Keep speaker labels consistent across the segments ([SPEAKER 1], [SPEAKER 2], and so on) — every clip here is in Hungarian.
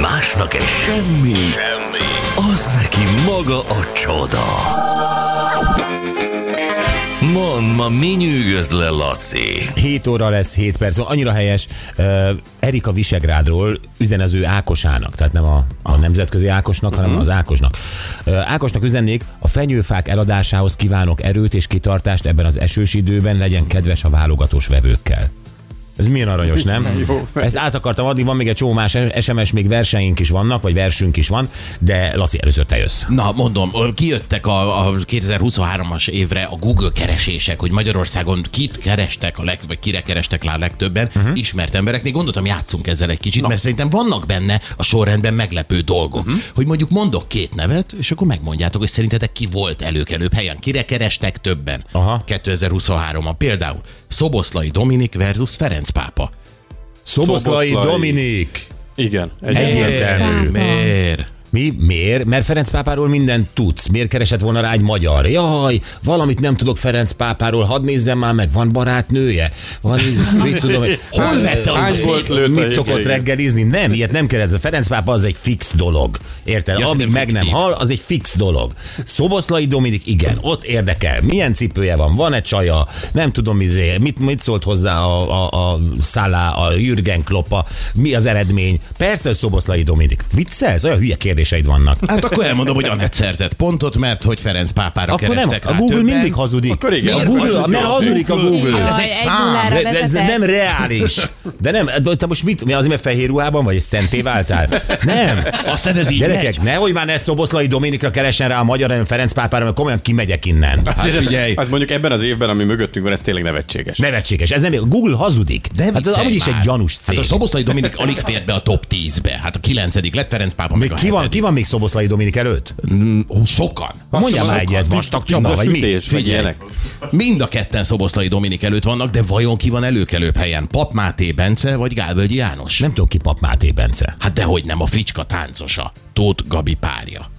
[SPEAKER 1] másnak egy semmi, semmi, az neki maga a csoda. Mond, ma mi nyűgöz le, Laci?
[SPEAKER 2] 7 óra lesz, 7 perc. van. Annyira helyes. Uh, Erika Visegrádról üzen az ő Ákosának, tehát nem a, a nemzetközi Ákosnak, hanem az Ákosnak. Uh, Ákosnak üzennék, a fenyőfák eladásához kívánok erőt és kitartást ebben az esős időben, legyen kedves a válogatós vevőkkel. Ez milyen aranyos, nem?
[SPEAKER 3] Jó.
[SPEAKER 2] Ezt át akartam adni, van még egy csomó más SMS, még verseink is vannak, vagy versünk is van, de Laci, először te jössz.
[SPEAKER 4] Na, mondom, ö, kijöttek a, a 2023-as évre a Google keresések, hogy Magyarországon kit kerestek, a leg, vagy kire kerestek le a legtöbben
[SPEAKER 2] Mhm.
[SPEAKER 4] uh-huh. ismert embereknél. Gondoltam, játszunk ezzel egy kicsit, Na. mert szerintem vannak benne a sorrendben meglepő dolgok.
[SPEAKER 2] Mhm.
[SPEAKER 4] Uh-huh. Hogy mondjuk mondok két nevet, és akkor megmondjátok, hogy szerintetek ki volt előkelőbb helyen, kire kerestek többen
[SPEAKER 2] Aha.
[SPEAKER 4] 2023-ban. Például Szoboszlai Dominik versus Ferenc pápa.
[SPEAKER 2] Szoboszlai,
[SPEAKER 3] Szoboszlai.
[SPEAKER 2] Dominik!
[SPEAKER 3] Igen.
[SPEAKER 2] Egyértelmű.
[SPEAKER 4] Miért?
[SPEAKER 2] Mi? Miért? Mert Ferenc pápáról mindent tudsz. Miért keresett volna rá egy magyar? Jaj, valamit nem tudok Ferenc pápáról, hadd nézzem már meg, van barátnője? Van, íz- mit tudom, hogy-
[SPEAKER 4] Hol vette azt a
[SPEAKER 3] Hány
[SPEAKER 4] szép
[SPEAKER 3] volt lőtt a
[SPEAKER 2] Mit
[SPEAKER 3] jégre?
[SPEAKER 2] szokott reggelizni? Nem, ilyet nem keresett. Ferenc pápa az egy fix dolog. Érted?
[SPEAKER 4] Ja,
[SPEAKER 2] Ami
[SPEAKER 4] szerintem
[SPEAKER 2] meg nem
[SPEAKER 4] fiktív.
[SPEAKER 2] hal, az egy fix dolog. Szoboszlai Dominik, igen, ott érdekel. Milyen cipője van? Van-e csaja? Nem tudom, izé, mit, mit szólt hozzá a, a, a Szalá, a Jürgen Kloppa? Mi az eredmény? Persze, hogy Szoboszlai Dominik. Viccelsz? Olyan hülye kérdéseid vannak.
[SPEAKER 4] Hát akkor elmondom, hogy Anett szerzett pontot, mert hogy Ferenc pápára
[SPEAKER 2] Akkor nem,
[SPEAKER 4] kerestek
[SPEAKER 2] a
[SPEAKER 4] rá
[SPEAKER 2] Google
[SPEAKER 4] többen.
[SPEAKER 2] mindig hazudik.
[SPEAKER 3] Akkor igen.
[SPEAKER 2] A
[SPEAKER 4] Miért
[SPEAKER 2] Google,
[SPEAKER 4] hazudik?
[SPEAKER 2] mert hazudik a Google. Ah,
[SPEAKER 4] Hát ez
[SPEAKER 5] Jaj,
[SPEAKER 4] egy
[SPEAKER 5] egy
[SPEAKER 4] szám.
[SPEAKER 5] nullára
[SPEAKER 2] De, de ez
[SPEAKER 5] vezetek.
[SPEAKER 2] nem reális. De nem, de te most mit, mi azért, mert fehér ruhában vagy, és szenté váltál? Nem.
[SPEAKER 4] Azt hiszed, ez így megy?
[SPEAKER 2] Gyerekek, nehogy már ne Szoboszlai Dominikra keresen rá a magyar, hanem Ferenc pápára, mert komolyan kimegyek innen.
[SPEAKER 4] Hát figyelj,
[SPEAKER 3] Hát mondjuk ebben az évben, ami mögöttünk van, ez tényleg nevetséges.
[SPEAKER 2] Nevetséges. Ez nem, Google hazudik.
[SPEAKER 4] de
[SPEAKER 2] hát az
[SPEAKER 4] viccelj
[SPEAKER 2] amúgy is
[SPEAKER 4] már.
[SPEAKER 2] egy gyanús cég.
[SPEAKER 4] Hát a Szoboszlai Dominik alig fért be a top 10-be. Hát a 9 lett Ferenc pápa, meg
[SPEAKER 2] még
[SPEAKER 4] a
[SPEAKER 2] ki, van, ki van még Szoboszlai Dominik előtt?
[SPEAKER 4] Ó, sokan.
[SPEAKER 2] Mondjál már egyet, vastag Csaba, vagy mi?
[SPEAKER 3] Napsütés, Szóval vagy
[SPEAKER 4] Figyelj.
[SPEAKER 3] ilyenek.
[SPEAKER 4] Mind a ketten Szoboszlai Dominik előtt vannak, de vajon ki van előkelőbb helyen? Pap Máté Bence vagy Gálvölgyi János?
[SPEAKER 2] Nem tudom ki Pap Máté Bence.
[SPEAKER 4] Hát dehogy nem, a fricska táncosa. Tóth Gabi párja.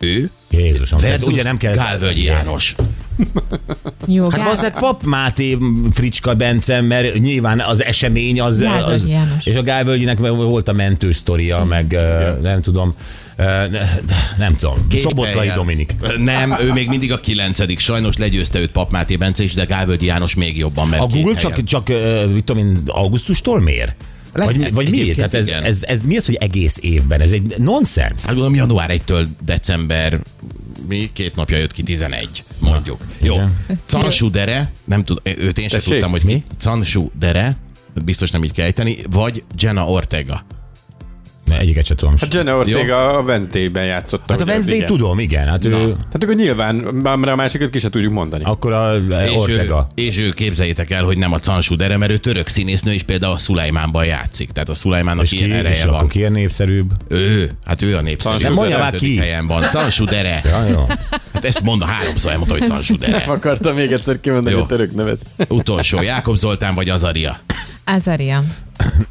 [SPEAKER 4] Ő
[SPEAKER 2] Jézusom, tehát
[SPEAKER 4] versus
[SPEAKER 2] ugye nem kell
[SPEAKER 4] Gálvölgyi János.
[SPEAKER 5] Jó,
[SPEAKER 2] Hát
[SPEAKER 5] Gál-
[SPEAKER 2] valószínűleg Pap Máté Fricska Bence, mert nyilván az esemény az...
[SPEAKER 5] Gálvölgyi
[SPEAKER 2] az
[SPEAKER 5] János.
[SPEAKER 2] és a Gálvölgyinek volt a mentő sztoria, meg ö, nem tudom, ö, ne- nem tudom,
[SPEAKER 4] Két
[SPEAKER 2] Szoboszlai
[SPEAKER 4] helyen.
[SPEAKER 2] Dominik.
[SPEAKER 4] Ö, Nem, ő még mindig a kilencedik. Sajnos legyőzte őt Pap Máté Bence is, de Gálvölgyi János még jobban, mert
[SPEAKER 2] A
[SPEAKER 4] két
[SPEAKER 2] Google
[SPEAKER 4] helyen.
[SPEAKER 2] csak, csak ö, mit tudom én, augusztustól mér?
[SPEAKER 4] Lehet,
[SPEAKER 2] Vagy, vagy miért?
[SPEAKER 4] egyébként
[SPEAKER 2] Tehát ez,
[SPEAKER 4] igen.
[SPEAKER 2] ez, ez, mi az, hogy egész évben? Ez egy nonsens.
[SPEAKER 4] Hát gondolom január 1-től december mi két napja jött ki 11, mondjuk.
[SPEAKER 2] Ah,
[SPEAKER 4] Jó. Cansú dere, nem tud, őt én sem
[SPEAKER 3] Tessék?
[SPEAKER 4] tudtam, hogy mi. Cansú dere, biztos nem így kell ejteni, vagy Jenna Ortega.
[SPEAKER 2] Ne, egyiket sem tudom.
[SPEAKER 3] Hát Jenna Ortega a Wednesday-ben játszott.
[SPEAKER 2] Hát a
[SPEAKER 3] ugye,
[SPEAKER 2] Wednesday
[SPEAKER 3] igen.
[SPEAKER 2] tudom, igen. Hát ő,
[SPEAKER 3] Tehát akkor nyilván, már már a másikat ki se tudjuk mondani.
[SPEAKER 2] akkor a
[SPEAKER 4] És
[SPEAKER 2] Ortega.
[SPEAKER 4] ő, és ő képzeljétek el, hogy nem a Cansú dere, mert ő török színésznő, és például a Szulajmánban játszik. Tehát a Szulajmánnak
[SPEAKER 2] És
[SPEAKER 4] ilyen
[SPEAKER 2] ki, és
[SPEAKER 4] ereje
[SPEAKER 2] akkor
[SPEAKER 4] van.
[SPEAKER 2] ki ilyen népszerűbb?
[SPEAKER 4] Ő, hát ő a népszerű.
[SPEAKER 3] Cansú Nem,
[SPEAKER 2] mondja dere. már ki.
[SPEAKER 4] Ötödik helyen van. Cansú dere.
[SPEAKER 2] Ja, jó.
[SPEAKER 4] Hát ezt mondom, háromszor elmondta, hogy Cansú dere.
[SPEAKER 3] akartam még egyszer kimondani
[SPEAKER 4] Jó.
[SPEAKER 3] a török nevet.
[SPEAKER 4] Utolsó, Jákob Zoltán vagy Azaria.
[SPEAKER 5] Azaria.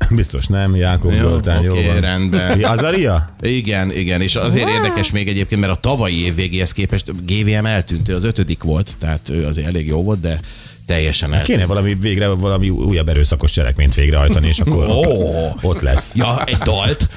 [SPEAKER 2] Biztos nem, Jákob Zoltán, jó
[SPEAKER 4] oké,
[SPEAKER 2] van.
[SPEAKER 4] rendben.
[SPEAKER 2] Azaria?
[SPEAKER 4] Igen, igen, és azért érdekes még egyébként, mert a tavalyi év végéhez képest GVM eltűntő, az ötödik volt, tehát ő azért elég jó volt, de teljesen eltűnt.
[SPEAKER 2] Kéne valami végre valami újabb erőszakos cselekményt végrehajtani, és akkor
[SPEAKER 4] Ó.
[SPEAKER 2] ott lesz.
[SPEAKER 4] Ja, egy dalt,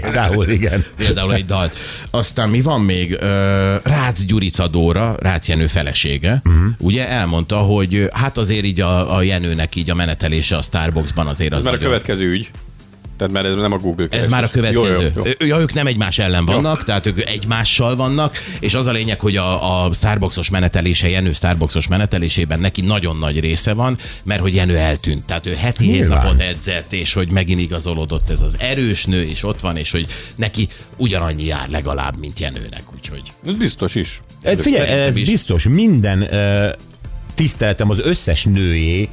[SPEAKER 2] Például, igen.
[SPEAKER 4] például egy dalt. Aztán mi van még? Ö, Rácz Gyurica Dóra, Rácz Jenő felesége,
[SPEAKER 3] Mhm.
[SPEAKER 4] uh-huh. ugye elmondta, hogy ö, hát azért így a, a Jenőnek így a menetelése a Starbucksban azért az
[SPEAKER 3] Ez már a
[SPEAKER 4] nagyon-
[SPEAKER 3] következő ügy. Tehát már ez nem a Google
[SPEAKER 4] Ez
[SPEAKER 3] keresés.
[SPEAKER 4] már a következő.
[SPEAKER 3] Jó, jó, jó.
[SPEAKER 4] Ö, Ja, ők nem egymás ellen vannak, tehát ők egymással vannak, és az a lényeg, hogy a, a Starbucksos menetelése, Jenő Starbucksos menetelésében neki nagyon nagy része van, mert hogy Jenő eltűnt. Tehát ő heti hét
[SPEAKER 2] Nyilván.
[SPEAKER 4] napot edzett, és hogy megint igazolódott ez az erős nő, és ott van, és hogy neki ugyanannyi jár legalább, mint Jenőnek, úgyhogy.
[SPEAKER 3] Ez Biztos is.
[SPEAKER 2] Hát figyelj, ez
[SPEAKER 4] is.
[SPEAKER 2] biztos, minden ö, tiszteletem az összes nőjé,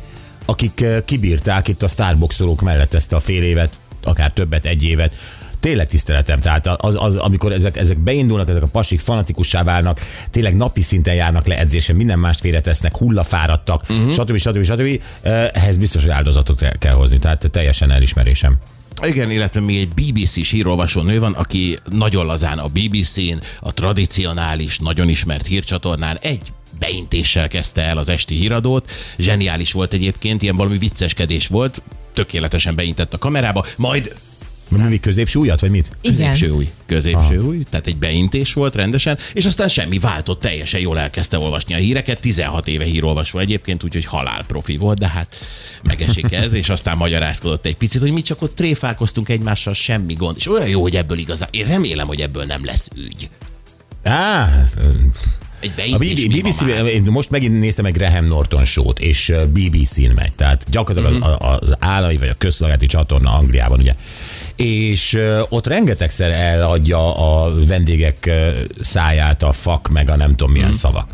[SPEAKER 2] akik ö, kibírták itt a Starbucksolók mellett ezt a fél évet, akár többet, egy évet. Tényleg tiszteletem, tehát az, az amikor ezek, ezek beindulnak, ezek a pasik fanatikussá válnak, tényleg napi szinten járnak le edzésen, minden mást félretesznek, hullafáradtak, uh-huh. stb. stb. stb. Ö, Ehhez biztos, hogy áldozatot kell- kell hozni, tehát teljesen elismerésem.
[SPEAKER 4] Igen, illetve még egy BBC-s hírolvasó nő van, aki nagyon lazán a BBC-n, a tradicionális, nagyon ismert hírcsatornán egy beintéssel kezdte el az esti híradót. Zseniális volt egyébként, ilyen valami vicceskedés volt, tökéletesen beintett a kamerába, majd
[SPEAKER 2] Mi középsúlyat, vagy mit?
[SPEAKER 5] Igen.
[SPEAKER 4] Középső új. Középső új. Tehát egy beintés volt rendesen, és aztán semmi váltott, teljesen jól elkezdte olvasni a híreket. 16 éve hírolvasó egyébként, úgyhogy halál profi volt, de hát megesik ez, és aztán magyarázkodott egy picit, hogy mi csak ott tréfálkoztunk egymással, semmi gond. És olyan jó, hogy ebből igazán. Én remélem, hogy ebből nem lesz ügy.
[SPEAKER 2] Á,
[SPEAKER 4] Egy
[SPEAKER 2] A
[SPEAKER 4] beintés
[SPEAKER 2] BB,
[SPEAKER 4] mi ma
[SPEAKER 2] BBC,
[SPEAKER 4] már?
[SPEAKER 2] én most megint néztem meg Graham Norton show-t, és ö, BBC-n megy, tehát
[SPEAKER 4] Mhm.
[SPEAKER 2] gyakorlatilag mm-hmm. az állami vagy a közszolgálati csatorna Angliában, ugye. És ö, ott rengetegszer eladja a vendégek ö, száját a fak, meg a nem tudom milyen mm.
[SPEAKER 4] Mhm.
[SPEAKER 2] szavak.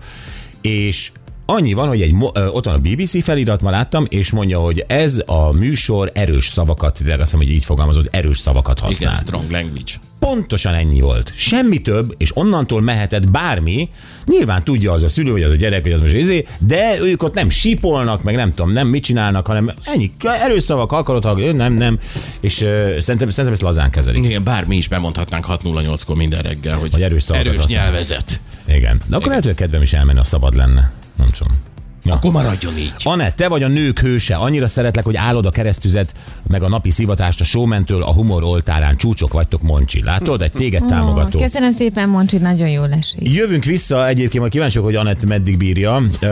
[SPEAKER 2] És annyi van, hogy egy, mo- ö, ott van a BBC felirat, ma láttam, és mondja, hogy ez a műsor erős szavakat, tényleg azt hiszem, hogy így fogalmazott, erős szavakat használ.
[SPEAKER 4] Igen, strong language.
[SPEAKER 2] Pontosan ennyi volt. Semmi több, és onnantól mehetett bármi. Nyilván tudja az a szülő, vagy az a gyerek, hogy az most izé, de ők ott nem sípolnak, meg nem tudom, nem mit csinálnak, hanem ennyi erőszavak, ha akarod, ha ő nem, nem. És uh, szerintem, szerintem ezt lazán kezelik.
[SPEAKER 4] Igen, bármi is bemondhatnánk 6.08-kor minden reggel, hogy
[SPEAKER 2] Hogy erős szavakat
[SPEAKER 4] erős
[SPEAKER 2] használ.
[SPEAKER 4] nyelvezet.
[SPEAKER 2] Igen. De akkor lehet, hogy a kedvem is elmenne, ha szabad lenne. Nem tudom. Ja.
[SPEAKER 4] Akkor maradjon így.
[SPEAKER 2] Anett, te vagy a nők hőse. Annyira szeretlek, hogy állod a keresztüzet, meg a napi szivatást a showmentől a humor oltárán. Csúcsok vagytok, Moncsi. Látod? Egy téged támogató.
[SPEAKER 5] Ó, Köszönöm szépen, Moncsi, nagyon jól esik.
[SPEAKER 2] Jövünk vissza, egyébként majd kíváncsiak, hogy Anett meddig bírja. Ö,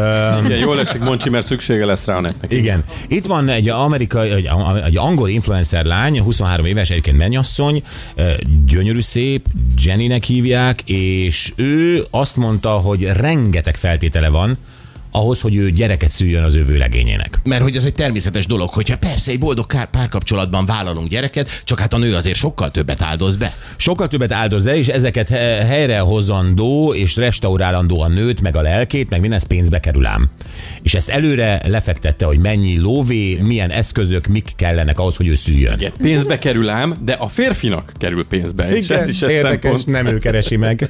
[SPEAKER 3] Igen, jól esik Moncsi, mert szüksége lesz rá a netnek.
[SPEAKER 2] igen. Itt van egy, amerikai, egy, egy angol influencer lány, 23 éves, egyébként mennyasszony, ö, gyönyörű szép, Jennynek hívják, és ő azt mondta, hogy rengeteg feltétele van ahhoz, hogy ő gyereket szüljön az ő vőlegényének.
[SPEAKER 4] Mert hogy ez egy természetes dolog, hogyha persze egy boldog kár- párkapcsolatban vállalunk gyereket, csak hát a nő azért sokkal többet áldoz be.
[SPEAKER 2] Sokkal többet áldoz el, és ezeket he- helyrehozandó és restaurálandó a nőt, meg a lelkét, meg minden ez pénzbe kerül ám. És ezt előre lefektette, hogy mennyi lóvé, milyen eszközök, mik kellenek ahhoz, hogy ő szüljön.
[SPEAKER 3] Igen, pénzbe kerül ám, de a férfinak kerül pénzbe. és ez is egy
[SPEAKER 2] érdekes,
[SPEAKER 3] szempont.
[SPEAKER 2] nem ő keresi meg.